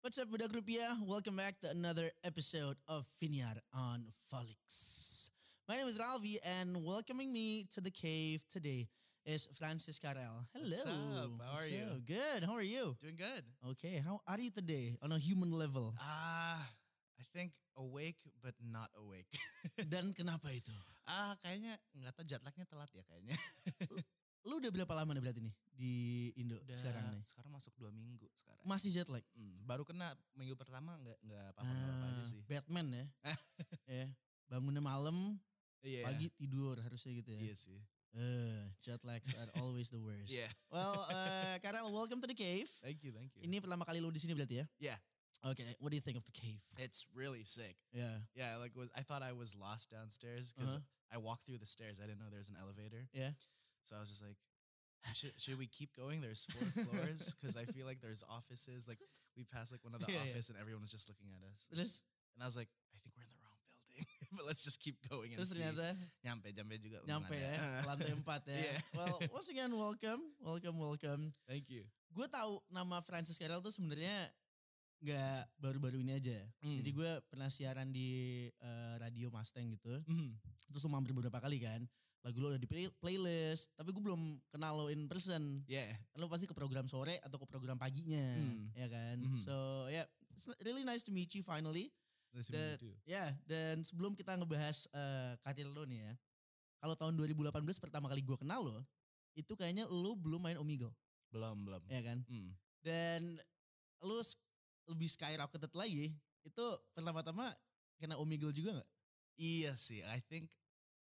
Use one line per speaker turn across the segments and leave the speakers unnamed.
What's up, Budak Rupiah? Welcome back to another episode of Finyar on Folix. My name is Ralvi, and welcoming me to the cave today is Francis Carel. Hello.
What's up? How
What's
are you?
up? Good. How are you?
Doing good.
Okay. How are you today on a human level?
Ah, I think awake but not awake.
Dan kenapa itu?
ah, kayaknya nggak tahu jet lagnya telat ya kayaknya.
Lu udah berapa lama nih berarti nih di Indo sekarang nih?
sekarang masuk dua minggu sekarang.
Masih jet lag?
Mm, baru kena minggu pertama nggak nggak apa-apa nggak apa aja
Ah,
sih.
Batman ya? ya. Bangunnya malam,
Iya.
pagi tidur harusnya gitu ya.
Iya sih.
Eh, jet lags are always the worst.
Iya.
Well, uh, Karel, welcome to the cave.
Thank you, thank you.
Ini pertama kali lu di sini berarti ya?
Yeah.
Okay, what do you think of the cave?
It's really sick.
Yeah,
Yeah, like was I thought I was lost downstairs because
Uh-huh.
I walked through the stairs. I didn't know there was an elevator.
yeah.
So I was just like, should, should we keep going? There's four floors because I feel like there's offices. Like we passed like one of the
Yeah, yeah.
office and everyone was just looking at us.
Terus,
And I was like, I think we're in the wrong building, but let's just keep going and
terus
see.
ternyata
Nyampe, nyampe juga.
nyampe ya,
untungan
lantai empat ya.
Yeah.
Well, once again, welcome, welcome, welcome.
Thank you.
Gue tahu nama Francis Carel tuh sebenarnya nggak baru-baru ini aja. ya.
Hmm.
Jadi gue pernah siaran di eh, radio Mustang gitu.
Mhm.
Terus lu mampir beberapa kali kan. Lagu lo udah di play- playlist, tapi gue belum kenal lo in person.
Yeah.
Kan lo pasti ke program sore atau ke program paginya,
Hmm.
ya kan?
Mhm.
So yeah, it's really nice to meet you finally.
Nice
Dan,
to meet you too.
ya, dan sebelum kita ngebahas eh, karir lo nih ya. Kalau tahun 2018 pertama kali gue kenal lo, itu kayaknya lo belum main Omegle,
Belum, belum.
ya kan?
Mm.
Dan lo s- lebih skyrocketed lagi, itu pertama-tama kena Omegle juga gak?
Iya sih, I think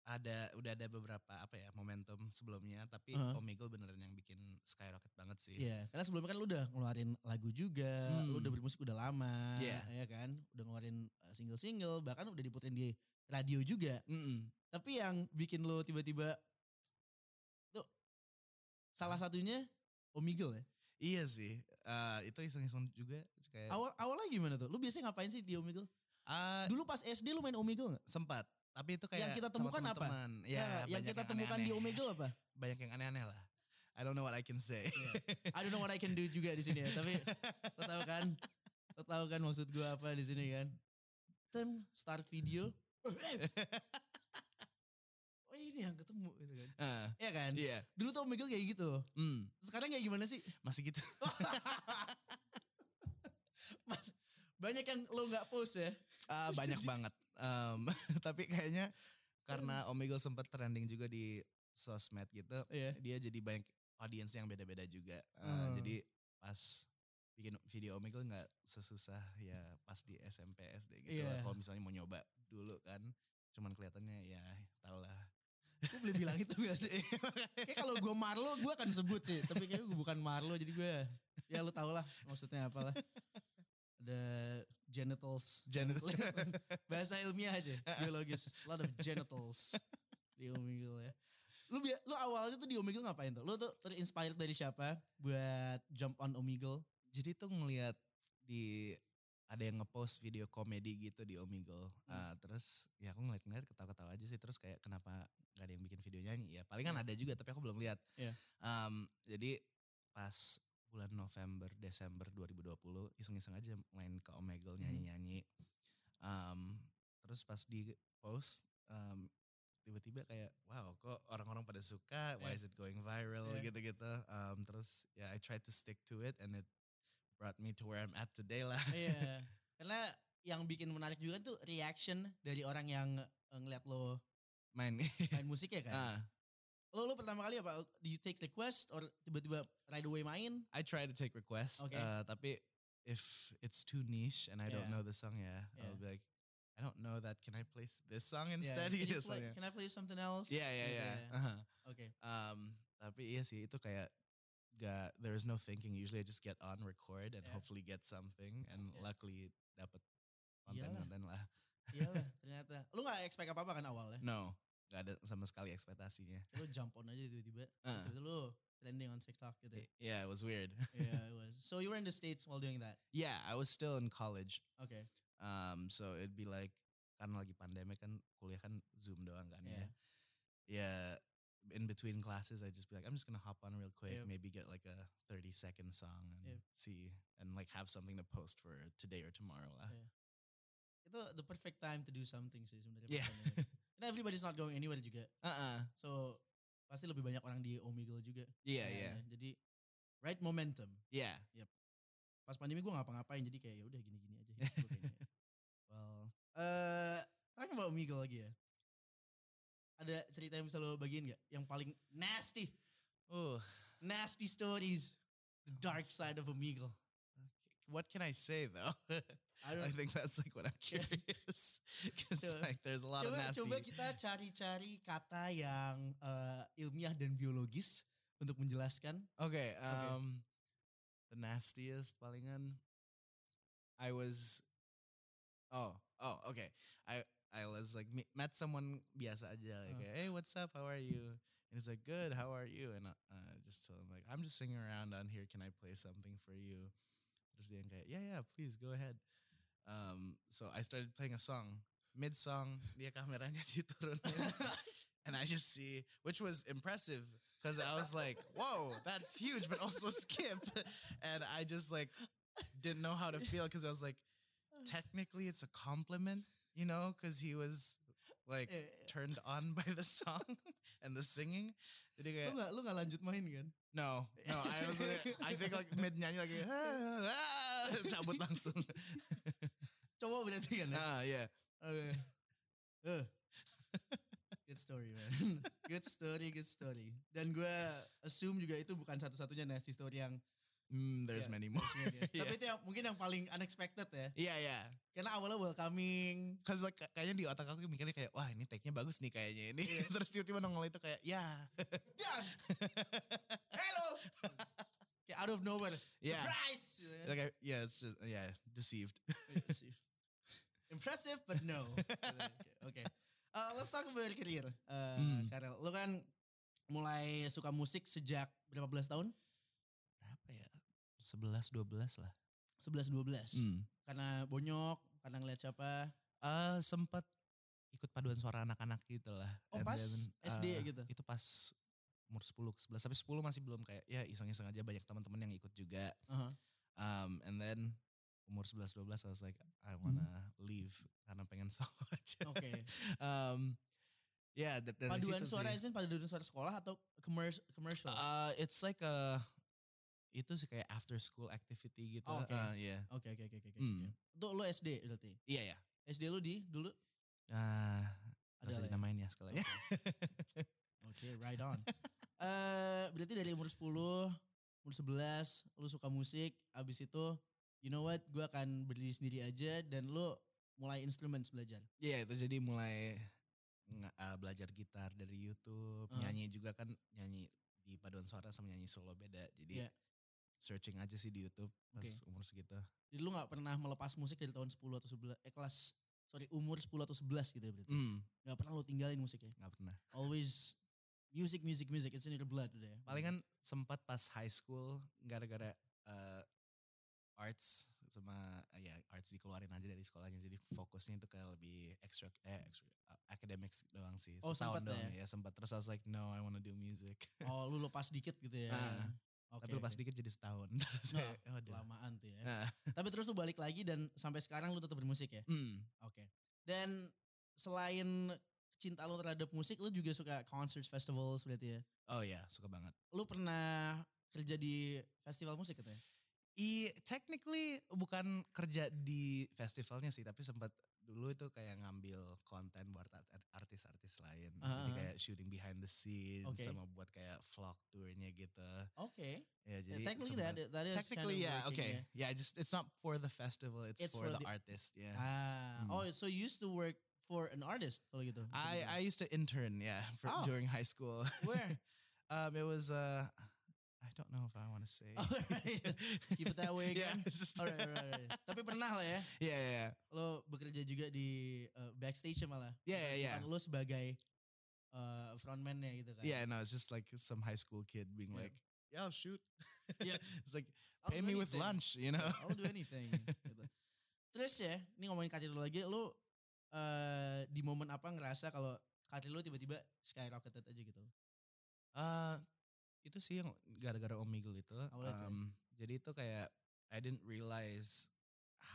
ada udah ada beberapa apa ya momentum sebelumnya tapi
Uh-huh.
Omegle beneran yang bikin skyrocket banget sih.
Iya, karena sebelumnya kan lo udah ngeluarin lagu juga,
Hmm.
lo udah bermusik udah lama,
Iya.
ya kan? Udah ngeluarin eh, single-single, bahkan udah diputerin di radio juga.
Mm-mm.
Tapi yang bikin lo tiba-tiba tuh salah satunya Omegle ya?
Iya sih. Eh, itu iseng-iseng juga terus kayak
Awal awalnya gimana tuh? Lu biasanya ngapain sih di Omegle?
ah,
Dulu pas SD lu main Omegle gak?
sempat tapi itu kayak
Yang kita
sama
temukan apa?
teman-teman. Ya,
yang
banyak
kita temukan
aneh-aneh.
di Omegle apa?
banyak yang aneh-aneh lah. I don't know what I can say.
I don't know what I can do juga di sini Iya. ya, tapi lo tau kan? Lo tau kan maksud gua apa di sini kan? Tem start video. oh ini yang ketemu gitu kan.
Ah,
Iya kan?
Iya.
Dulu tuh Omegle kayak gitu.
Hmm,
Sekarang kayak gimana sih?
masih gitu.
Mas, banyak yang lo nggak post ya?
Ah, banyak banget. Um, tapi kayaknya
Hmm.
karena Omegle sempat trending juga di sosmed gitu,
Iya.
dia jadi banyak audiens yang beda-beda juga.
Hmm.
Ah, Jadi pas bikin video Omegle nggak sesusah ya pas di SMP SD gitu.
Iya.
Kalau misalnya mau nyoba dulu kan, cuman kelihatannya ya tau lah.
Gue boleh bilang itu gak sih? kayak kalau gue Marlo gue akan sebut sih. Tapi kayak gue bukan Marlo jadi gue ya lu tau lah maksudnya apalah. Ada genitals.
Jangan
Bahasa ilmiah aja biologis. A lot of genitals di Omegle ya. Lu, bia- lu awalnya tuh di Omegle ngapain tuh? Lu tuh terinspired dari siapa buat jump on Omegle?
jadi tuh ngelihat di ada yang ngepost video komedi gitu di Omegle.
Hmm.
Ah, terus ya aku ngeliat-ngeliat ketawa-ketawa aja sih. Terus kayak kenapa gak ada yang bikin video nyanyi ya. Palingan ada juga tapi aku belum lihat.
Hmm. Iya.
Em, jadi pas bulan November, Desember 2020 iseng-iseng aja main ke
Hmm.
Omegle nyanyi-nyanyi. Em, terus pas di post em, tiba-tiba kayak wow kok orang-orang pada suka why
Iya.
is it going viral
Iya.
gitu-gitu Em, terus ya I tried to stick to it and it brought me to where I'm at today lah.
Oh, Iya. Karena yang bikin menarik juga tuh reaction dari orang yang eh, ngeliat lo
Main.
main musik ya kan.
Ah,
Lo lo pertama kali apa? Do you take request or tiba-tiba right away main?
I try to take requests,
Okay.
uh, tapi if it's too niche and I don't
Yeah.
know the song, yeah,
Yeah.
I'll be like, I don't know that. Can I play s- this song
Yeah,
instead?
can, you
Gitu
play,
soalnya.
can I play something else?
yeah, yeah,
Gitu
yeah.
ya.
Uh-huh.
Oke.
Um, tapi iya sih itu kayak gak there is no thinking. Usually I just get on record and
Yeah.
hopefully get something and
Yeah.
luckily dapat
Iyalah.
konten-konten lah.
Iya lah, ternyata. Lu gak expect apa-apa kan awalnya?
No, gak ada sama sekali ekspektasinya.
Lu jump on aja tiba-tiba. Terus
Ah.
tiba-tiba lu trending on TikTok gitu.
Yeah, it was weird.
yeah, it was. So you were in the States while doing that.
yeah, I was still in college.
Okay.
Um, so it'd be like karena lagi pandemi kan kuliah kan zoom doang kan
Yeah.
ya. Yeah, in between classes I just be like I'm just gonna hop on real quick,
Yep.
maybe get like a 30 second song and
Yep.
see and like have something to post for today or tomorrow lah.
Yeah. iya. Itu the perfect time to do something sih sebenarnya.
Yeah.
pertanyaan. And everybody's not going anywhere juga.
Uh-uh.
So pasti lebih banyak orang di Omegle juga.
Yeah,
Nah,
yeah.
Jadi right momentum.
Yeah.
Pas pandemi gue ngapa-ngapain jadi kayak ya udah gini-gini aja. hidup gua kayaknya. well,
Uh,
eh tanya about Omegle lagi ya. Ada cerita yang bisa lo bagiin gak? Yang paling nasty,
Oh,
nasty stories. The dark side of Omegle.
what can I say though?
I
I
don't
think that's like what I'm
Yeah.
curious because
So,
like there's a lot
coba,
of nasty.
coba kita cari-cari kata yang eh, ilmiah dan biologis untuk menjelaskan.
Okay. Um, the nastiest palingan. I was. Oh, oh, okay. I I was like me- met someone biasa aja. Like,
Uh.
hey, what's up? How are you? And he's like, good. How are you? And I uh, just tell him like, I'm just singing around on here. Can I play something for you? Terus dia yang kayak, yeah, yeah, please go ahead. Um, so I started playing a song. Mid song, dia kameranya diturunin. and I just see, which was impressive because I was like, "Whoa, that's huge!" But also skip, and I just like didn't know how to feel because I was like, technically, it's a compliment, you know, because he was like
Eh, eh,
turned on by the song and the singing. Jadi kayak,
lu gak, lu gak lanjut main kan?
no, no, I was like, I think like mid nyanyi like, ah, ah, cabut langsung.
Cowok berarti kan? ya?
nah, yeah,
Okay. Eh. Good story, man. good story, good story. Dan gue assume juga itu bukan satu-satunya nasty story yang
Mm, there's
Yeah,
many more. yeah.
Tapi itu yang mungkin yang paling unexpected ya.
yeah, yeah.
Karena awalnya welcoming.
Cause like, ka- kayaknya di otak aku mikirnya kayak wah ini take-nya bagus nih kayaknya ini.
Iya.
Terus tiba-tiba nongol itu kayak ya.
Dan, hello! Kayak out of nowhere.
Yeah.
Surprise! gitu ya.
like I, yeah, it's just yeah, deceived.
Impressive, but no. Oke. Okay. Uh, let's talk about your career. Uh,
Hmm.
Karel, lo kan mulai suka musik sejak berapa belas tahun?
Berapa ya? 11 12 lah.
11 12.
Hmm.
Karena bonyok, karena ngeliat siapa?
Eh, sempat ikut paduan suara anak-anak gitu lah.
Oh,
And
pas
then,
SD
eh,
gitu?
Itu pas umur 10 ke 11 tapi 10 masih belum kayak ya iseng-iseng aja banyak teman-teman yang ikut juga.
Aha.
Um, and then umur 11 12 I was like I wanna leave karena pengen solo aja.
Hmm. Oke.
um, yeah, da- dari
Paduan
situ
suara
sih.
izin paduan suara sekolah atau commercial? commercial?
Uh, it's like a itu sih kayak after school activity gitu.
Oh, oke.
Uh, yeah.
Oke, oke, oke, oke. oke,
Hmm.
oke. Itu lo SD berarti?
Iya ya.
SD lo di dulu?
Ah,
Ada
ada
lah ya?
dinamain ya sekolahnya.
Oke, right on. Eh berarti dari umur 10, umur 11, lu suka musik, abis itu, you know what, gue akan berdiri sendiri aja, dan lu mulai instrumen belajar.
Iya itu jadi mulai nga- ah, belajar gitar dari YouTube,
Uh-huh.
nyanyi juga kan nyanyi di paduan suara sama nyanyi solo beda. Jadi
Iya.
searching aja sih di YouTube pas
Oke.
umur segitu.
Jadi lu gak pernah melepas musik dari tahun 10 atau 11, eh kelas, sorry, umur 10 atau 11 gitu ya berarti.
Hmm,
Gak pernah lu tinggalin musiknya.
nggak pernah.
Always music, music, music, it's in your blood udah ya.
Palingan sempat pas high school gara-gara eh, arts sama eh, ya arts dikeluarin aja dari sekolahnya jadi fokusnya itu kayak lebih extra eh extra, eh, academics doang sih.
Oh, sempat
Setahun doang
ya?
ya. sempat terus I was like no I wanna do music.
Oh lu lepas dikit gitu ya.
Ah,
Oke,
Tapi lepas
oke.
dikit jadi setahun. Terus
Nah,
kayak, "Waduh."
Kelamaan tuh ya.
Ah,
Tapi terus lu balik lagi dan sampai sekarang lu tetap bermusik ya?
mm.
Oke. Dan selain cinta lo terhadap musik, lo juga suka concert festivals berarti ya.
Oh ya, suka banget.
Lo pernah kerja di festival musik katanya?
I technically bukan kerja di festivalnya sih, tapi sempat dulu itu kayak ngambil konten buat art- art- artis-artis lain. Jadi
Ah.
kayak shooting behind the scene
Oke.
sama buat kayak vlog tournya gitu.
Oke. Yeah,
Ya jadi
technically that,
sempat-
that is
Technically
kind of
yeah,
working,
okay.
ya.
Yeah, just it's not for the festival, it's,
It's
for,
for
the,
the-
artist, yeah.
Ah,
Hmm.
oh so you used to work for an artist kalau gitu. bisa
I I
dibilang.
used to intern, yeah, for,
Oh.
during high school.
where?
um it was uh I don't know if I want to say.
Alright. Keep it that way
yeah,
again.
it's just-
Alright, alright, alright. Tapi pernah lo ya,
yeah, yeah, yeah.
lo bekerja juga di uh, backstage malah.
Yeah, yeah, yeah.
Bukan Lo sebagai uh, frontman-nya gitu kan.
Yeah, no, it's just like some high school kid being
Yeah.
like, "Yeah, I'll shoot."
Yeah. Oh,
it's like
I'll
pay
do
me with
anything.
lunch, you know.
I'll do anything. gitu. Terus ya, ini ngomongin karir lu lagi, lu eh di momen apa ngerasa kalau karir lu tiba-tiba skyrocketed aja gitu?
Uh, itu sih yang gara-gara Omegle itu.
Awalnya tuh ya.
um, jadi itu kayak I didn't realize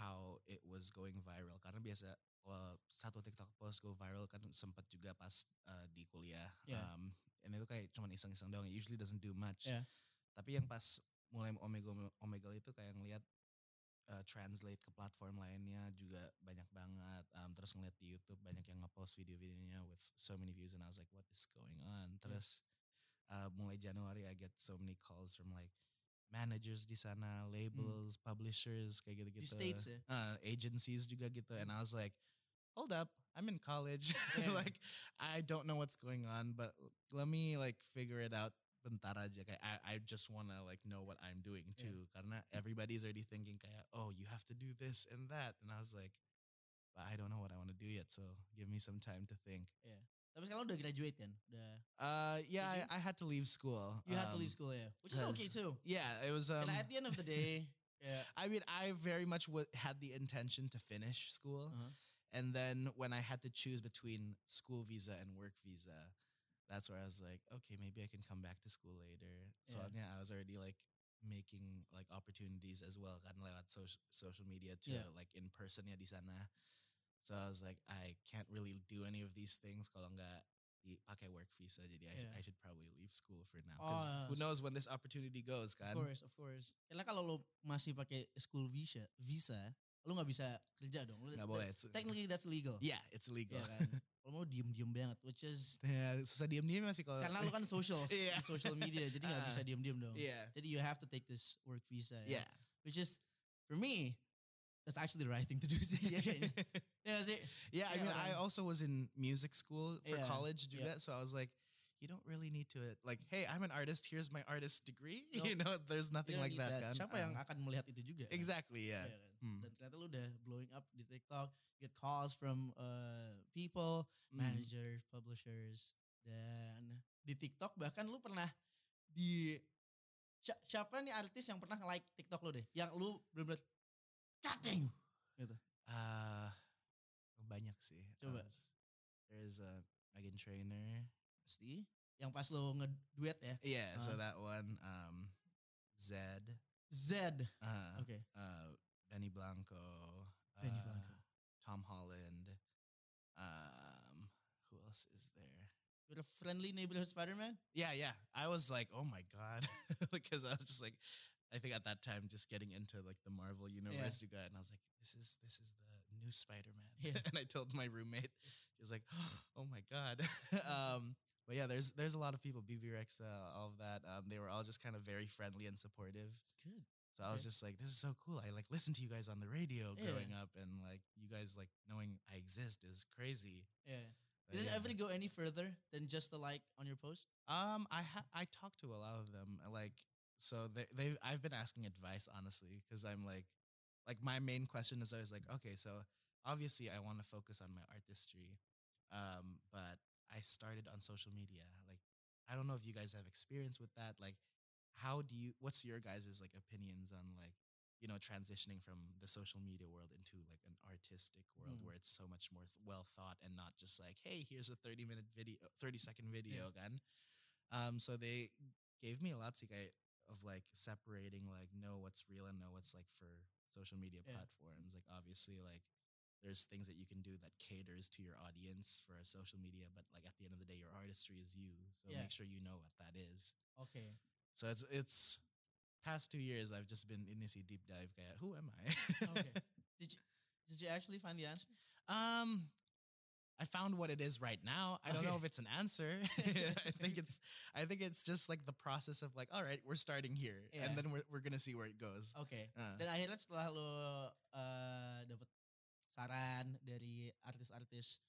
how it was going viral karena biasa kalau satu TikTok post go viral kan sempat juga pas uh, di kuliah.
Yeah.
Um, and itu kayak cuman iseng-iseng doang. It usually doesn't do much.
Yeah.
Tapi yang pas mulai Omegle Omegle itu kayak ngelihat uh, translate ke platform lainnya juga banyak banget. Um, terus ngeliat di YouTube banyak yang ngepost video-videonya with so many views and I was like what is going
Hmm.
on? Terus uh, mulai Januari I get so many calls from like managers di sana, labels, publishers kayak
Hmm. Di
gitu-gitu.
States ya. Hmm.
uh, agencies juga gitu. And I was like, hold up, I'm in college.
Yeah.
like, I don't know what's going on, but let me like figure it out bentar aja. Kayak, I, I just want to like know what I'm doing
Yeah.
too. Karena everybody's already thinking kayak, oh, you have to do this and that. And I was like, but I don't know what I want to do yet. So give me some time to think.
Tapi sekarang udah graduate kan? Udah.
Uh, yeah,
Did you-
I, I had to leave school.
You had to leave
Um,
school ya. Which is okay
has-
too.
Yeah, it was. Um,
And at the end of the day, yeah.
I mean, I very much w- had the intention to finish school.
Uh-huh.
And then when I had to choose between school visa and work visa, that's where I was like, okay, maybe I can come back to school later. So
Yeah.
yeah, I was already like making like opportunities as well, kan lewat social social media to
Yeah.
like in person ya di sana. So I was like, I can't really do any of these things kalau nggak di- pakai work visa. Jadi I, should,
Yeah.
I should probably leave school for now. Because
Oh,
who
s-
knows when this opportunity goes, kan?
Of course, of course. Karena kalau lo masih pakai school visa, visa, lo nggak bisa kerja dong. Lo,
Nggak boleh. it's-
Technically that's legal.
Yeah, it's illegal.
Iya kan. Kalau mau diem-diem banget, which is
Ya, susah diam-diam masih kalau
karena lo kan social,
Iya.
di social media, jadi nggak
Ah. Iya.
bisa diem-diem dong.
yeah.
Jadi you have to take this work visa. ya.
Yeah.
Which is for me, that's actually the right thing to do sih. ya kayaknya. Iya nggak sih.
yeah, I
Yeah,
mean, I
kan.
also was in music school for
Yeah,
college, do
yeah.
that. So I was like, you don't really need to, uh, like, hey, I'm an artist. Here's my artist degree. You know, there's
You
nothing
don't
like
need
that,
that. Iya
kan?
gitu. Siapa yang
Um,
akan melihat itu juga? kan?
exactly? Yeah.
Iya kan?
Hmm.
Dan ternyata lu udah blowing up di TikTok, get calls from uh, people,
Mm.
managers, publishers, dan di TikTok bahkan lu pernah di si- siapa nih artis yang pernah like TikTok lu deh, yang lu bener-bener cutting. gitu.
Ah, banyak sih.
Coba.
Um, there's a Megan Trainer.
Pasti yang pas lu ngeduet ya.
Yeah. so
Uh.
that one. Um, Zed.
Z.
Uh,
Oke.
uh, Benny Blanco,
Benny
uh,
Blanco.
Tom Holland. Um, who else is there?
You're a friendly neighborhood Spider-Man.
Yeah, yeah. I was like, oh my god, because I was just like, I think at that time just getting into like the Marvel universe, you got, and I was like, this is this is the new Spider Man,
Yeah.
and I told my roommate, she was like, oh my god. um, but yeah, there's there's a lot of people, BB Rex, uh, all of that. Um, they were all just kind of very friendly and supportive.
It's good.
So I was
Okay.
just like, this is so cool. I like listened to you guys on the radio
Yeah.
growing up, and like you guys like knowing I exist is crazy.
Yeah.
But
Did it
yeah.
ever go any further than just the like on your post?
Um, I ha- I talked to a lot of them. uh, Like, so they they I've been asking advice honestly because I'm like, like my main question is always like, okay, so obviously I want to focus on my artistry, um, but I started on social media. Like, I don't know if you guys have experience with that. Like, how do you? What's your guys' like opinions on like? You know, transitioning from the social media world into like an artistic world
Hmm.
where it's so much more th- well thought and not just like, hey, here's a 30 minute video, 30 second video again. Um, so they gave me a lot to get of like separating like know what's real and know what's like for social media
Yeah.
platforms. Like obviously like there's things that you can do that caters to your audience for social media, but like at the end of the day, your artistry is you. So
Yeah.
make sure you know what that is.
Oke.
So it's it's past two years I've just been in this deep dive kayak, who am I?
Okay. Did you did you actually find the answer?
Um, I found what it is right now. I don't know
Okay.
if it's an answer. I think it's, I think it's just like the process of like, all right, we're starting here,
Yeah. Oh,
and then we're we're gonna see where it goes.
Oke.
Uh,
Dan akhirnya setelah lo eh dapat saran dari artis-artis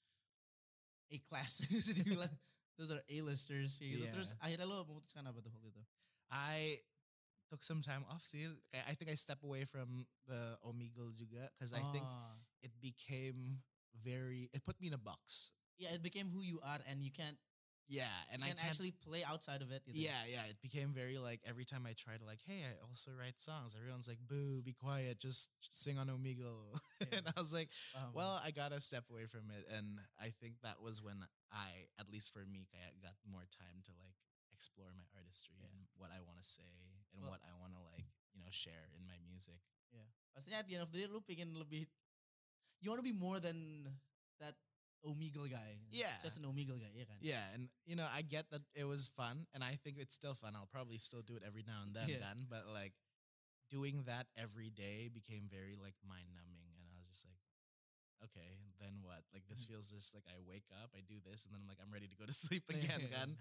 A-class bisa dibilang terus ada A-listers kayak gitu.
Iya.
Terus akhirnya lo memutuskan apa tuh waktu itu?
I took some time off. See, I, I think I step away from the Omegle juga because I think
Oh.
it became very. It put me in a box.
yeah, it became who you are and you can't
Yeah, and
and
I can't
actually play outside of it gitu.
Yeah, yeah. It became very like every time I try to like, hey, I also write songs. Everyone's like, boo, be quiet, just sing on Omegle.
Yeah.
and I was like,
Paham.
well, I gotta step away from it. And I think that was when I, at least for me, I got more time to like explore my artistry
Yeah.
and what I want to say and
Well-
what I want to like, you know, share in my music.
Pastinya at the end of the day lu pingin lebih you want to be more than that omegle guy.
Yeah.
Just an omegle guy, ya kan?
Yeah, and you know, I get that it was fun, and I think it's still fun. I'll probably still do it every now and then,
Yeah.
then but like doing that every day became very like mind numbing, and I was just like, okay, then what? Like this
Mm.
feels just like I wake up, I do this, and then I'm like, I'm ready to go to sleep again, kan?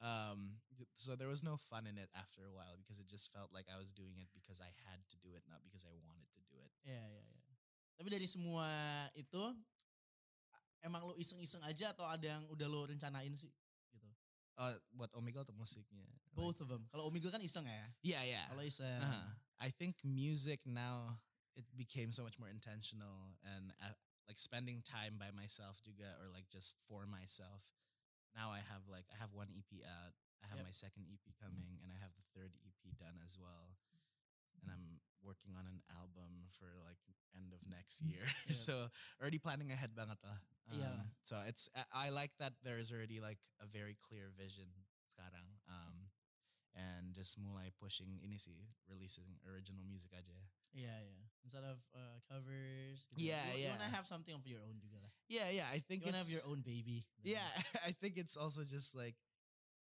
Um, th- so there was no fun in it after a while because it just felt like I was doing it because I had to do it, not because I wanted to do it.
Iya, iya, iya. Tapi dari semua itu a- emang lu iseng-iseng aja atau ada yang udah lu rencanain sih? Gitu.
Uh, buat Omegle atau musiknya? Like-
Both of them. Kalau omegle kan iseng ya.
Yeah, yeah.
Kalau iseng.
Uh-huh. I think music now it became so much more intentional and uh, like spending time by myself juga or like just for myself. Now I have like I have one E EP out. I have
Yep.
my second EP coming and I have the third EP done as well. And I'm working on an album for like end of next year.
Yep.
so already planning ahead banget lah.
Iyalah.
Um, So it's I, I like that there's already like a very clear vision sekarang. Um, and just mulai pushing ini sih releasing original music aja.
Iya, iya. Instead of uh, covers. gitu.
Yeah,
you, You
yeah.
wanna have something of your own juga lah.
Yeah, yeah. I think
You wanna
it's
have your own baby.
yeah. I think it's also just like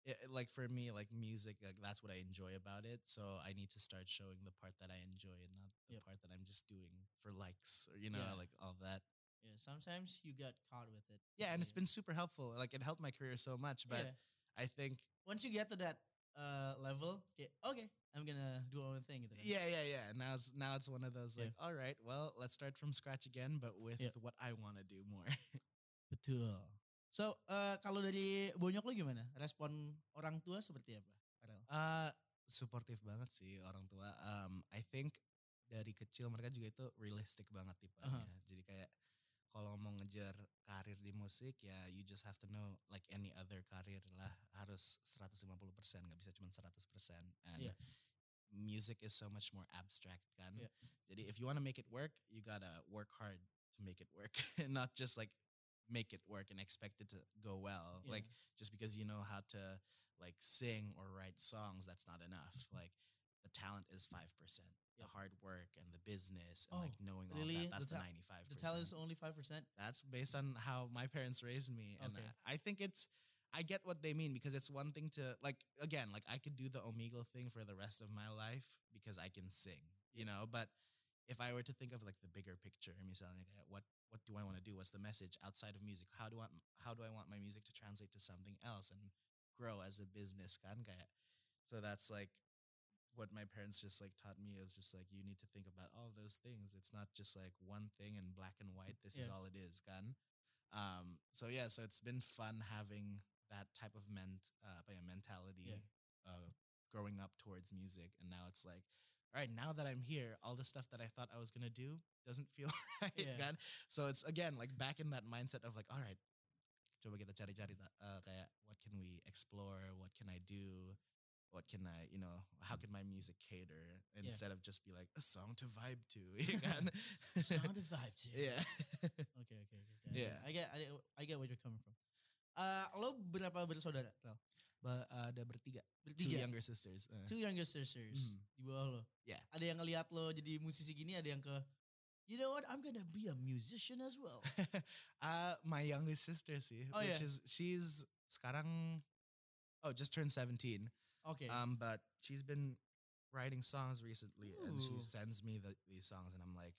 it, like for me like music like that's what I enjoy about it. So I need to start showing the part that I enjoy and not
Yep.
the part that I'm just doing for likes or you know
Yeah.
like all that.
Yeah, sometimes you get caught with it.
Yeah, and it's
Yeah.
been super helpful. Like it helped my career so much. But
Yeah.
I think
Once you get to that uh, level, okay, okay, I'm gonna do my own thing. gitu kan.
Yeah, yeah, yeah. And Now it's now it's one of those
Yeah.
like, all right, well, let's start from scratch again, but with
Yeah.
what I want to do more.
Betul. So, eh, kalau dari bonyok lu gimana? Respon orang tua seperti apa? Farel?
uh, supportive banget sih orang tua. Um, I think dari kecil mereka juga itu realistic banget tipenya. Jadi kayak kalau mau ngejar karir di musik ya you just have to know like any other karir lah harus 150% nggak bisa cuma 100% and
Yeah.
music is so much more abstract kan.
Yeah.
Jadi if you want to make it work, you gotta work hard to make it work, not just like make it work and expect it to go well.
Yeah.
Like just because you know how to like sing or write songs, that's not enough. Like the talent is five percent. The
Yep.
hard work and the business and like
Oh,
knowing
really?
all that, that's
The
the
ta-
ninety five
The
percent.
talent is only 5%.
That's based on how my parents raised me. And
Okay.
I, I think it's I get what they mean because it's one thing to like again, like I could do the Omegle thing for the rest of my life because I can sing, you know, but if I were to think of like the bigger picture, misalnya kayak, what what do I want to do? What's the message outside of music? How do I how do I want my music to translate to something else and grow as a business kan kayak. So that's like what my parents just like taught me is just like you need to think about all those things. It's not just like one thing in black and white. This is
Yeah.
all it is, kan? Um, so yeah, so it's been fun having that type of ment uh, apa ya, mentality
Yeah.
uh, growing up towards music, and now it's like, all right, now that I'm here, all the stuff that I thought I was gonna do doesn't feel right,
Yeah.
kan? So it's again like back in that mindset of like, all right, coba kita cari-cari ta- uh, kayak what can we explore, what can I do, what can I, you know, how can my music cater instead of just be like a song to vibe to, ya kan?
Sound the vibe too.
yeah.
Oke, oke, oke. oke. I get-
Yeah.
I get, I get, I get where you're coming from. Eh, lo berapa bersaudara? Rel?
But ada bertiga,
Eh,
two
Bertiga.
younger sisters. uh.
Two younger sisters
Mhm.
di bawah lo.
Yeah.
Ada yang ngelihat lo jadi musisi gini, ada yang ke You know what? I'm gonna be a musician as well.
uh, my youngest sister sih,
Oh,
which
yeah.
is she's sekarang oh just turned 17.
Oke.
Um, but she's been writing songs recently, and she
Ooh.
sends me the, these songs, and I'm like,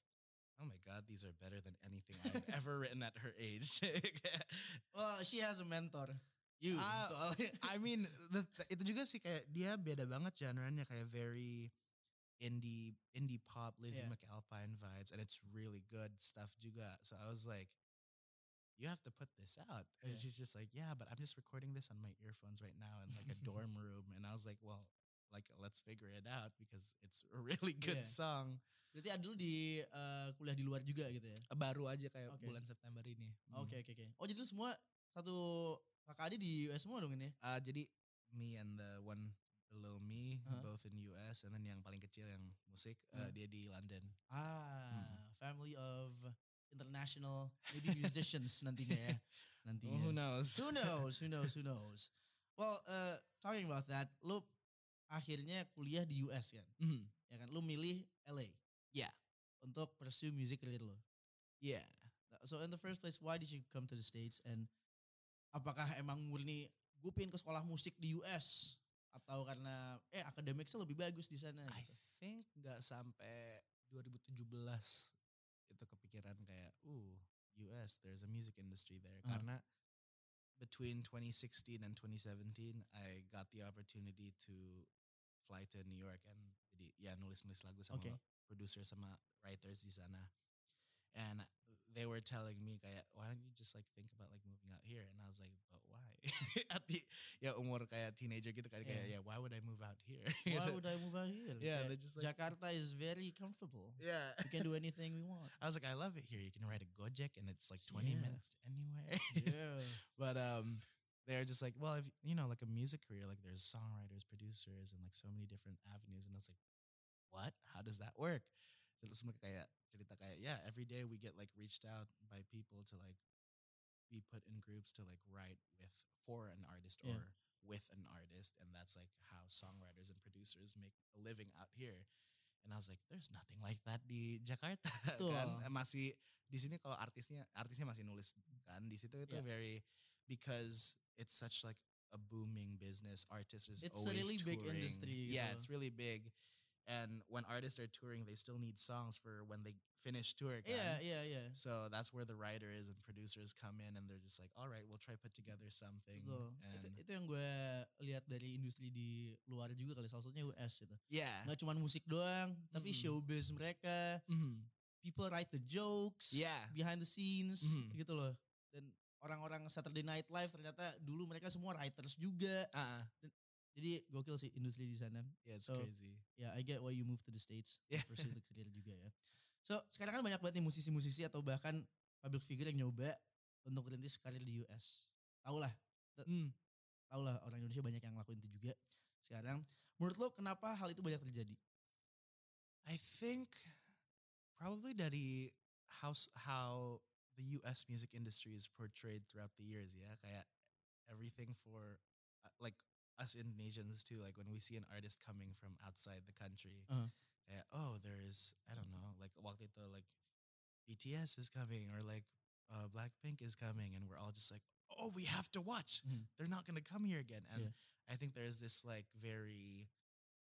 oh my god, these are better than anything I've ever written at her age.
Well, she has a mentor. You.
Ah,
soalnya.
I mean, the, th- itu juga sih kayak dia beda banget genre-nya kayak very indie indie pop, Lizzie
Yeah.
McAlpine vibes, and it's really good stuff juga. So I was like, you have to put this out, and
Yeah.
she's just like, yeah, but I'm just recording this on my earphones right now in like a dorm room, and I was like, well, like let's figure it out because it's a really good
Yeah.
song.
Berarti ada lu di eh, kuliah di luar juga gitu ya?
Baru aja kayak
Okay.
bulan September ini. Mm.
Oke oke oke. Oh jadi lu semua satu kakak adik di US semua dong ini? ya?
Uh, jadi me and the one below me
Huh?
both in US and then yang paling kecil yang musik
Huh?
uh, dia di London.
Ah, family of international maybe musicians nantinya ya. Nantinya.
Oh, who knows?
Who knows? Who knows? Who knows? Well, uh, talking about that, lu akhirnya kuliah di US kan?
Mhm.
Ya kan? Lu milih LA. untuk pursue music career lo.
Iya.
So in the first place, why did you come to the States and apakah emang murni gue pingin ke sekolah musik di US atau karena eh akademiknya lebih bagus di sana?
I
gitu?
think nggak sampai 2017 itu kepikiran kayak, uh, US, there's a music industry there.
Ah.
Karena between 2016 and 2017, I got the opportunity to fly to New York and jadi ya nulis-nulis lagu sama
Okay.
producer sama writers di sana. And they were telling me kayak, why don't you just like think about like moving out here? And I was like, but why? At the ya umur kayak teenager gitu kan kayak,
Yeah.
yeah. why would I move out here?
Why
Gitu.
would I move out here? Kayak,
Yeah, they're just like-
Jakarta is very comfortable.
yeah.
We can do anything we want.
I was like, I love it here. You can ride a Gojek and it's like 20
Yeah.
minutes to anywhere.
yeah.
but um, they're just like, well, if you know, like a music career, like there's songwriters, producers, and like so many different avenues. And I was like, what? How does that work? So it's like kayak cerita kayak, yeah, every day we get like reached out by people to like be put in groups to like write with for an artist
Yeah.
or with an artist, and that's like how songwriters and producers make a living out here. And I was like, there's nothing like that di Jakarta. kan?
Betul.
Masih di sini kalau artisnya artisnya masih nulis kan di situ itu
Yeah.
very because it's such like a booming business. Artists is
It's a
always
really big
touring.
industry,
Yeah,
gitu.
it's really big. And when artists are touring, they still need songs for when they finish tour. kan?
Yeah, yeah, yeah.
So that's where the writer is and producers come in and they're just like, all right, we'll try put together something.
Betul. Itu,
And
itu yang gue lihat dari industri di luar juga kali salah satunya US gitu.
yeah.
Gak cuman musik doang, tapi
Mm-mm.
showbiz mereka,
Mhm.
people write the jokes,
Yeah.
behind the scenes
Mhm.
gitu low. Dan orang-orang Saturday Night Live ternyata dulu mereka semua writers juga.
Uh-uh.
Jadi gokil sih industri di sana.
Yeah, it's
So,
crazy.
Ya, I get why you move to the States.
Yeah.
Pursue the career juga ya. So, sekarang kan banyak banget nih musisi-musisi atau bahkan public figure yang nyoba untuk rintis karir di US. Tau lah, Hmm.
Mm.
tau lah orang Indonesia banyak yang ngelakuin itu juga. Sekarang, menurut lo kenapa hal itu banyak terjadi?
I think probably dari how s- how the U.S. music industry is portrayed throughout the years. Yeah, kayak everything for uh, like us Indonesians too. Like when we see an artist coming from outside the country,
Uh-huh.
kayak, oh, there is I don't know. Like waktu itu like BTS is coming or like uh, Blackpink is coming, and we're all just like, oh, we have to watch.
Mhm.
They're not gonna come here again. And
Yeah.
I think there's this like very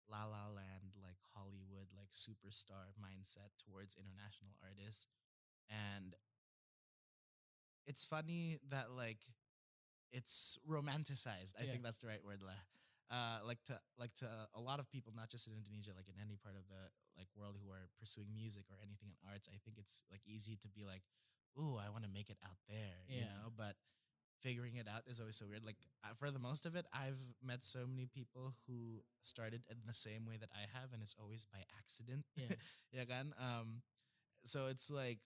La La Land, like Hollywood, like superstar mindset towards international artists. And it's funny that like it's romanticized. I
Yeah.
think that's the right word, lah. Uh, like to like to a lot of people, not just in Indonesia, like in any part of the like world who are pursuing music or anything in arts. I think it's like easy to be like, "Ooh, I want to make it out there," you
Yeah.
know. But figuring it out is always so weird. Like uh, for the most of it, I've met so many people who started in the same way that I have, and it's always by accident.
Yeah.
yeah, kan? Um, so it's like,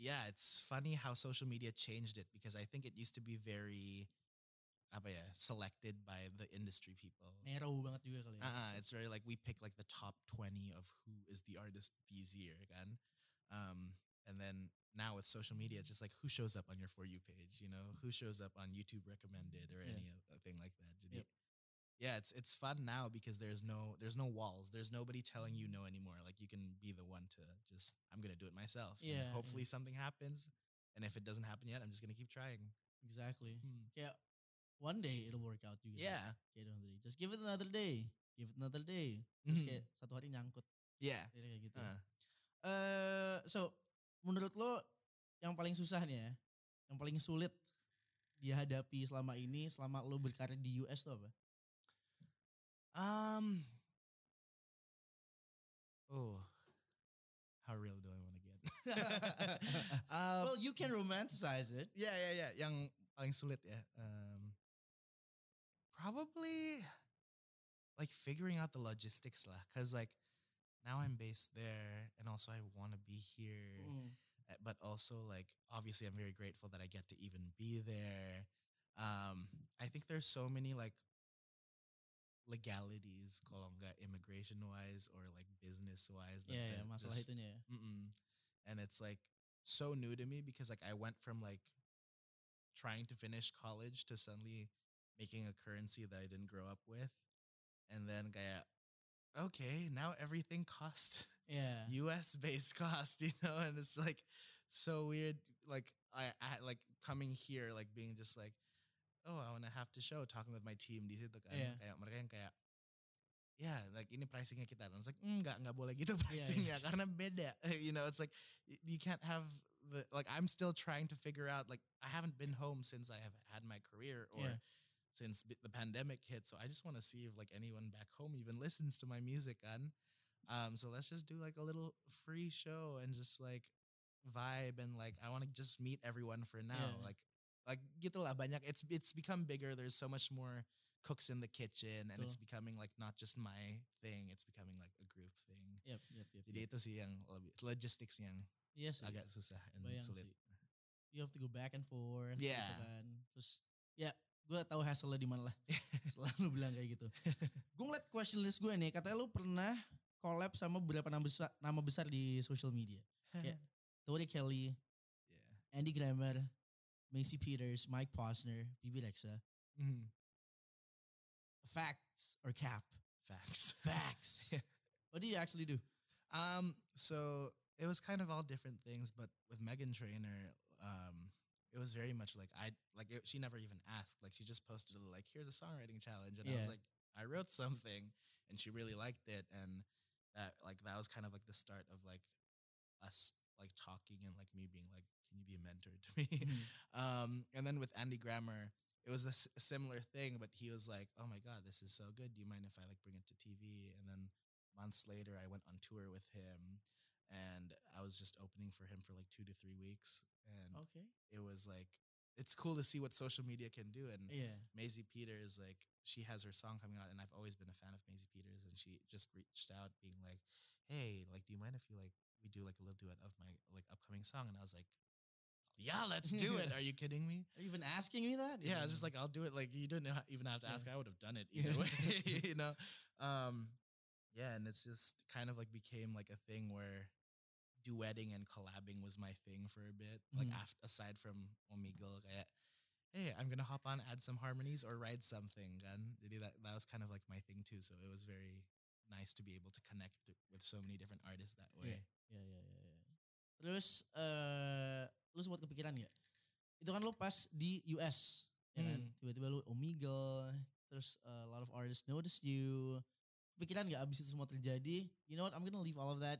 yeah, it's funny how social media changed it because I think it used to be very, apa ya, selected by the industry people.
Narrow banget juga kali ya.
Uh-uh, it's very like we pick like the top 20 of who is the artist these year again. Um, and then now with social media,
Mm-hmm.
it's just like who shows up on your For You page, you know, who shows up on YouTube recommended or
Yeah.
any o- thing like that. Jadi,
Yep.
Yeah, it's it's fun now because there's no there's no walls. There's nobody telling you
Mm-hmm.
no anymore. Like you can be the one to just I'm gonna do it myself. and
Yeah, yeah.
hopefully something happens. And if it doesn't happen yet, I'm just gonna keep trying.
exactly. Kayak one day it'll work out juga.
Hmm. Yeah.
Kayak dalam diri. Just give it another day. Give it another day. Terus
Mhm.
kayak satu hari nyangkut.
Yeah.
Kayak kayak gitu.
Uh,
Eh, so, menurut lo yang paling susah nih ya, yang paling sulit dihadapi selama ini, selama lo berkarir di US tuh apa?
Um. Oh, how real do I want to get? um,
well, you can romanticize it.
yeah, yeah, yeah. Yang paling sulit ya. Um, probably like figuring out the logistics lah, cause like now I'm based there, and also I want to be here
Mm.
uh, but also like obviously I'm very grateful that I get to even be there. Um, I think there's so many like legalities, kolonga immigration wise or like business wise.
Ya, ya, masalah itunya ya.
Mm-mm. And it's like so new to me because like I went from like trying to finish college to suddenly making a currency that I didn't grow up with. And then kayak okay, now everything costs
Yeah.
US based cost, you know, and it's like so weird. Like I, I like coming here, like being just like, oh, I want to have to show talking with my team di situ kan,
Yeah.
kayak mereka yang kayak, ya, like ini pricingnya kita, dan it's like "Mm, nggak nggak boleh gitu pricingnya karena beda, you know, it's like y- you can't have the like I'm still trying to figure out like I haven't been home since I have had my career or.
Yeah.
Since b- the pandemic hit, so I just want to see if like anyone back home even listens to my music, and um, so let's just do like a little free show and just like vibe and like I want to just meet everyone for now.
Yeah.
Like like gitulah banyak. It's it's become bigger. There's so much more cooks in the kitchen and it's
Betul.
becoming like not just my thing. It's becoming like a group thing.
Yep, yep, yep.
Jadi itu sih yang lebih logistics yang
Iya sih.
agak susah and
Bayang
sulit.
sih. You have to go back and forth
Yeah.
gitu kan. Terus ya gue tahu hasilnya di mana lah. Selalu bilang kayak gitu. gue ngeliat question list gue nih, katanya lu pernah collab sama beberapa nama besar, nama besar di social media. Kayak Tori Kelly,
Yeah.
Andy Grammer, Macy Peters, Mike Posner, Bibi Rexa.
Mhm.
Facts or cap?
Facts.
Facts. What do you actually do?
Um, so it was kind of all different things, but with Megan Trainer, um, it was very much like I like it, she never even asked. Like she just posted a, like, "Here's a songwriting challenge," and I
Yeah.
was like, "I wrote something," and she really liked it, and that like that was kind of like the start of like us like talking and like me being like, "Can you be a mentor to me?" Um, and then with Andy Grammer, it was a s- similar thing, but he was like, "Oh my god, this is so good. Do you mind if I like bring it to TV?" And then months later, I went on tour with him, and I was just opening for him for like two to three weeks, and
Okay.
it was like, it's cool to see what social media can do. And
Iya.
Maisie Peters, like she has her song coming out, and I've always been a fan of Maisie Peters, and she just reached out being like, "Hey, like, do you mind if you like we do like a little duet of my like upcoming song?" And I was like, "Yeah, let's do it. Are you kidding me?"
Are you even asking me that? Mm.
Yeah, I was just like, "I'll do it." Like, you didn't ha- even have to
Yeah.
ask. I would have done it
Yeah.
either way, you know. Um, yeah, and it's just kind of like became like a thing where duetting and collabing was my thing for a bit. Like,
Mhm.
af- aside from Omegle, kayak, hey, I'm gonna hop on, add some harmonies, or write something. And that that was kind of like my thing too. So it was very nice to be able to connect th- with so many different artists that way.
Ya, ya, ya, ya. Terus eh lu sempat kepikiran gak? Itu kan lu pas di US, ya kan?
Hmm.
Tiba-tiba lu Omegle, terus eh, a lot of artists notice you. Kepikiran gak abis itu semua terjadi? You know what? I'm gonna leave all of that.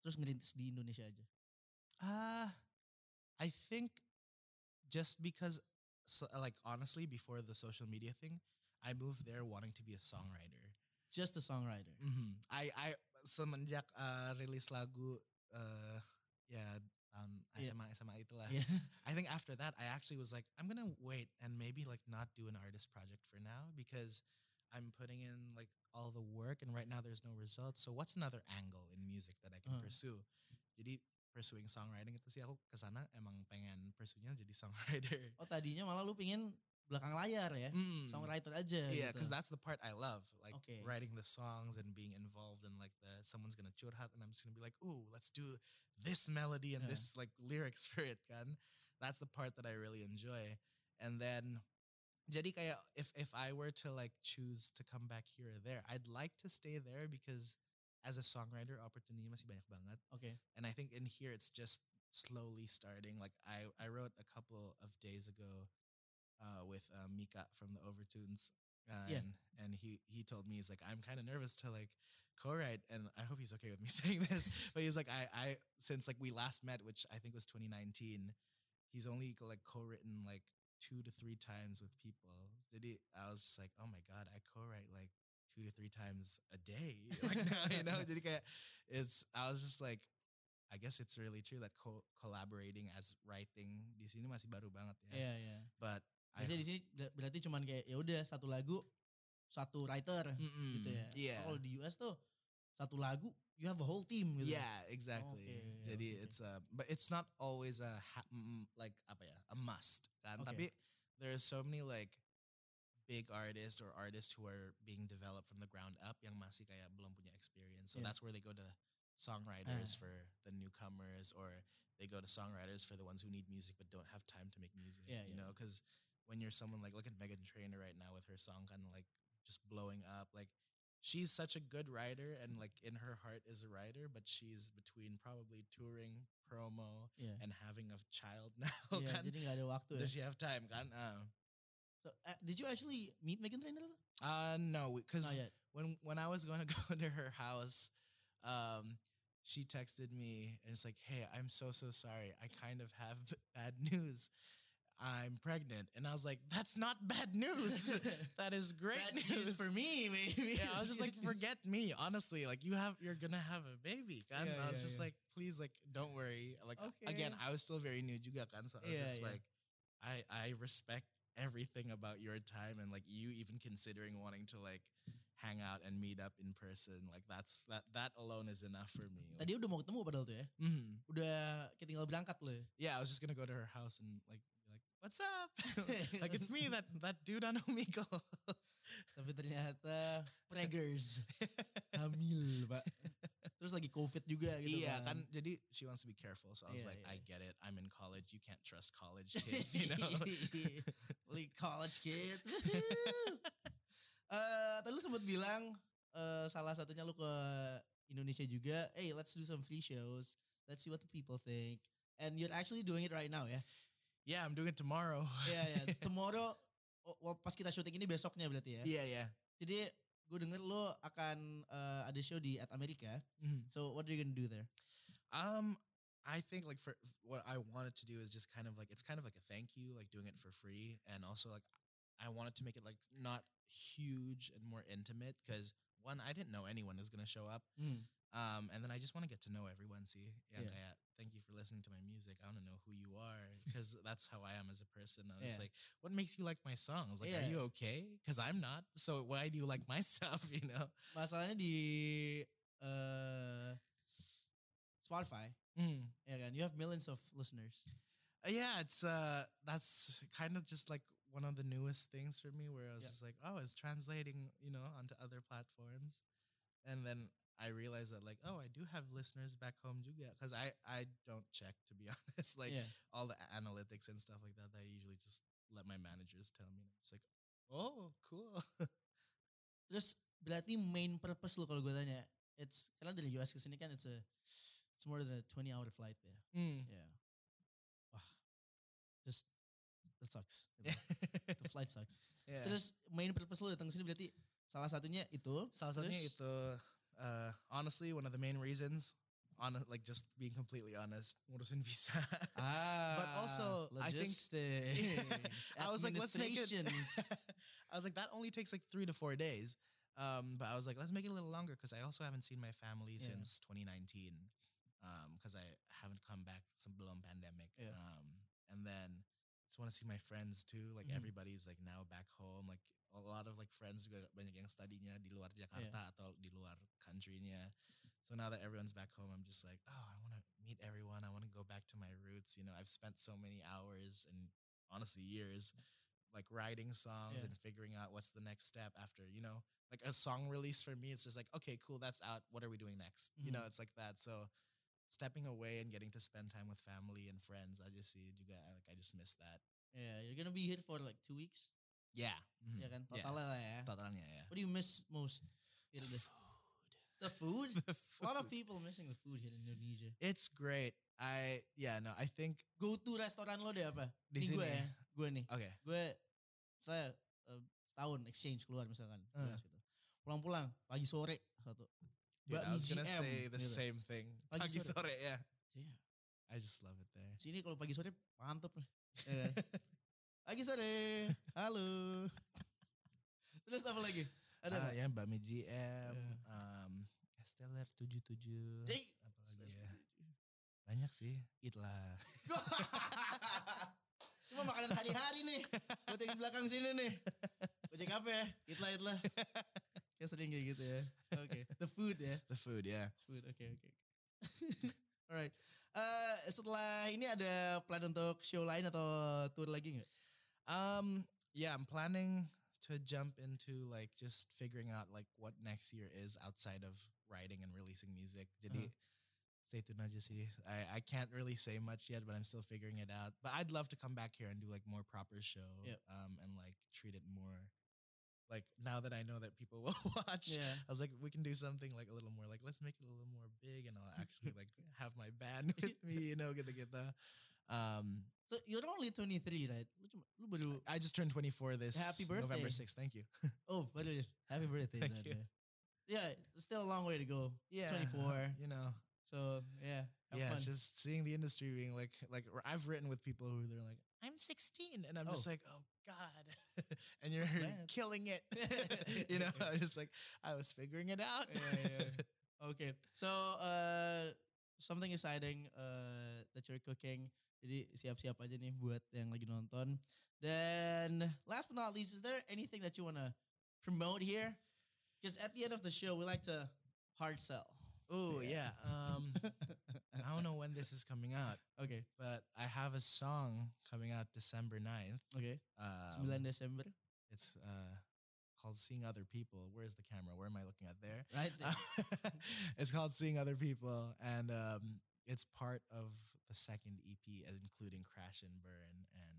Terus ngerintis di Indonesia aja.
Uh I think just because so, like honestly before the social media thing, I moved there wanting to be a songwriter.
Just a songwriter.
Mhm. I I semenjak uh, rilis lagu uh, ya um,
Iya.
SMA SMA itulah.
Iya.
I think after that, I actually was like, I'm gonna wait and maybe like not do an artist project for now because I'm putting in like all the work and right now there's no results. So what's another angle in music that I can
Uh.
pursue? Jadi pursuing songwriting itu sih aku kesana emang pengen pursuenya jadi songwriter.
Oh tadinya malah lu pingin belakang layar ya?
Mm.
Songwriter aja
Yeah,
gitu.
because Iya, that's the part I love, like
Okay.
writing the songs and being involved in like the someone's gonna curhat and I'm just gonna be like, ooh, let's do this melody and
Yeah.
this like lyrics for it, kan? That's the part that I really enjoy. And then, jadi kayak if if I were to like choose to come back here or there, I'd like to stay there because as a songwriter, opportunity masih banyak banget
Oke.
and I think in here it's just slowly starting. Like I, I wrote a couple of days ago uh, with uh, Mika from the Overtunes, uh,
Yeah.
and and he he told me he's like I'm kind of nervous to like co-write, and I hope he's okay with me saying this, but he's like I I since like we last met, which I think was 2019, he's only like co-written like two to three times with people. Did he? I was just like, oh my god, I co-write like two to three times a day. Like now, you know, jadi kayak it's. I was just like, I guess it's really true that co- collaborating as writing di sini masih baru banget ya.
Iya, iya.
But I
Biasanya di sini ber- berarti cuman kayak ya udah satu lagu satu writer
Mm-mm.
gitu ya.
Yeah.
Kalau di US tuh satu lagu you have a whole team gitu.
Yeah, exactly.
Okay,
Jadi
okay.
it's a but it's not always a ha, mm, like apa ya a must
Okay.
kan. Tapi there are so many like big artists or artists who are being developed from the ground up yang masih kayak belum punya experience. So
Yeah.
that's where they go to songwriters
Ah.
for the newcomers or they go to songwriters for the ones who need music but don't have time to make music.
Yeah,
you
yeah.
know, because when you're someone like look at Megan Trainor right now with her song kind of like just blowing up, like she's such a good writer and
Mm.
like in her heart is a writer, but she's between probably touring, promo,
Iya.
and having a child now.
Iya,
kan?
jadi nggak ada waktu ya.
Does she have time? Kan? Uh,
So, uh, did you actually meet Megan Trainor?
uh no, because
Not yet.
when when I was going to go to her house, um, she texted me and it's like, "Hey, I'm so so sorry. I kind of have bad news. I'm pregnant." And I was like, "That's not bad news. that is great
Bad
news
for me, maybe.
Yeah, I was just like, forget me, honestly. Like you have, you're gonna have a baby, kan?
Yeah,
I was
yeah,
just
yeah.
like, please, like, don't worry. Like again,
Okay.
I was still very new juga kan, so I was
Mm-hmm. Yeah,
just
yeah.
like, I I respect everything about your time and like you even considering wanting to like hang out and meet up in person. Like that's that that alone is enough for me. Like,
Tadi udah mau ketemu padahal tuh ya.
mhm.
Udah tinggal berangkat loh ya.
Yeah, I was just gonna go to her house and like be like, what's up? like it's me that that dude on Omegle.
Tapi ternyata preggers. Hamil, Pak. Terus lagi covid juga gitu
yeah, kan jadi she wants to be careful. So I was
Yeah,
like,
yeah.
I get it. I'm in college. You can't trust college kids, you know.
Like college kids. Woohoo. Eh, tadi lu sempat bilang eh, salah satunya lu ke Indonesia juga. Hey, let's do some free shows. Let's see what the people think. And you're actually doing it right now ya.
yeah, I'm doing it tomorrow.
Iya, ya. Tomorrow oh, well, pas kita syuting ini besoknya berarti ya.
yeah, yeah.
Jadi gue denger lo akan eh, ada show di At America.
Mhm.
So what are you gonna do there?
Um, I think like for what I wanted to do is just kind of like it's kind of like a thank you, like doing it for free, and also like I wanted to make it like not huge and more intimate because one, I didn't know anyone was gonna show up.
Hmm.
Um, and then I just want to get to know everyone. See, yeah,
Yeah.
kayak, thank you for listening to my music. I want to know who you are because that's how I am as a person. I was
Yeah.
like, what makes you like my songs? Like,
Yeah.
are you okay? Because I'm not. So why do you like my stuff? You know?
Masalahnya di eh, Spotify,
Mm.
ya kan? You have millions of listeners.
Uh, yeah, it's uh, that's kind of just like one of the newest things for me, where I was
Yeah.
just like, oh, it's translating, you know, onto other platforms, and then I realized that like, oh, I do have listeners back home, juga, because I I don't check to be honest, like
Yeah.
all the a- analytics and stuff like that. That I usually just let my managers tell me. It's like, oh, cool.
Terus berarti main purpose lo kalau gue tanya, it's karena dari US ke sini kan it's a it's more than a 20 hour flight ya.
Hmm.
Yeah. Wah. Just that sucks. gitu. The flight sucks.
yeah.
Terus main purpose lo datang ke sini berarti salah satunya itu.
Salah satunya
Terus?
itu uh, honestly one of the main reasons on like just being completely honest ngurusin visa.
Ah,
also, I think-
logistics,
I was like let's make it
administrations.
I was like that only takes like 3 to 4 days. Um but I was like let's make it a little longer cuz I also haven't seen my family
Yeah.
since 2019 um cuz I haven't come back sebelum pandemic.
Yeah.
Um and then just want to see my friends too. Like
Mhm.
everybody's like now back home like a lot of like friends juga banyak yang studinya di luar Jakarta atau di luar countrynya. So now that everyone's back home, I'm just like, oh, I want to meet everyone. I want to go back to my roots. You know, I've spent so many hours and honestly years like writing songs
Yeah.
and figuring out what's the next step after, you know, like a song release for me, it's just like, okay, cool, that's out. What are we doing next? You know,
Mhm.
it's like that. So stepping away and getting to spend time with family and friends, I just see you got like I just miss that.
yeah, you're gonna be here for like two weeks.
Yeah.
Ya
Mhm.
kan, totalnya lah ya.
Totalnya, yeah.
What do you miss most? Here in
The
the,
food.
the food?
The
A lot of
food.
people missing the food here in Indonesia.
It's great. I yeah, no, I think
Go to restoran lo deh apa?
Di
Ini gue
sini
ya,
ya?
gue nih.
okay.
Gue saya eh, setahun exchange keluar misalkan.
Ah.
beras gitu. Pulang-pulang pagi sore satu.
Dude, I
Bakmi
was gonna
GM,
say the
gitu.
same thing.
Pagi
Pagi
sore.
sore, yeah.
Iya.
I just love it there.
Sini kalau pagi sore mantep nih. Ya kan? pagi sore. Halo. Terus apa lagi? Ada
Ah,
apa?
ya Bakmi GM,
Iya.
um, Esteller 77,
Cing.
apa lagi ya? Banyak sih. Eat lah.
Cuma makanan hari-hari nih. Buat yang di belakang sini nih. Ojek apa eh? ya? Itlah, itlah. Kayak sering kayak gitu ya. Oke. The food ya.
The food, ya. Yeah.
Food, oke, oke. Alright. Eh, setelah ini ada plan untuk show lain atau tour lagi nggak?
Um, yeah, I'm planning to jump into like just figuring out like what next year is outside of writing and releasing music. Jadi
Uh-huh.
stay tuned aja sih. I I can't really say much yet, but I'm still figuring it out. But I'd love to come back here and do like more proper show,
Yep.
um, and like treat it more like now that I know that people will watch,
Yeah.
I was like, we can do something like a little more like let's make it a little more big, and I'll actually like have my band with me, you know, get the get the. Um,
So you're only 23, right? Lu cuma lu baru
I just turned 24 this
Happy birthday.
November 6th. Thank you.
oh, baru happy birthday.
Thank
Dad,
you.
Yeah, it's still a long way to go. She's 24.
You know,
So, yeah. Have
yeah,
fun.
it's just seeing the industry being like, like r- I've written with people who they're like, I'm 16, and I'm just
Oh.
like, oh god, and you're
bad.
killing it. you know, I was just like, I was figuring it out.
Yeah, yeah. Okay. So uh, something exciting uh, that you're cooking. Jadi siap-siap aja nih buat yang lagi nonton. Dan last but not least, is there anything that you wanna promote here? Because at the end of the show, we like to hard sell.
oh yeah.
Yeah.
Um, I don't know when this is coming out,
okay.
but I have a song coming out December 9th.
Oke.
Um,
9 Desember.
It's uh, called "Seeing Other People." Where's the camera? Where am I looking at? There.
Right. there.
it's called Seeing Other People, and um, it's part of the second EP, including Crash and Burn. And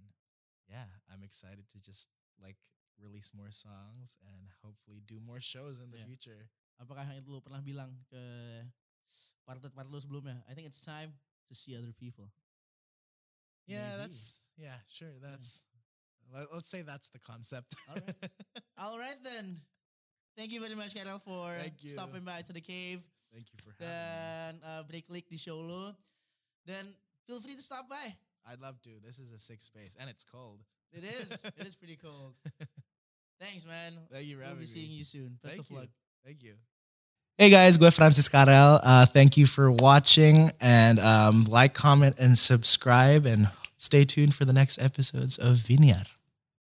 yeah, I'm excited to just like release more songs and hopefully do more shows in the
Yeah.
future.
Apakah yang lu pernah bilang ke partner-partner lu sebelumnya? I think it's time to see other people.
Yeah,
Maybe.
that's yeah, sure. That's let, let's say that's the concept.
Alright. All right then. Thank you very much, Karel, for
Thank you.
stopping by to the cave
Thank you for having me.
dan uh, break leak di show lu. Dan feel free to stop by.
I'd love to. This is a sick space, and it's cold.
It is. it is pretty cold. Thanks, man.
Thank you, for
We'll be
having me.
seeing you soon. Best of
Thank
luck.
you. Thank you. Hey guys, gue Francis Karel. Uh, thank you for watching and um, like, comment, and subscribe. And stay tuned for the next episodes of Vineyard.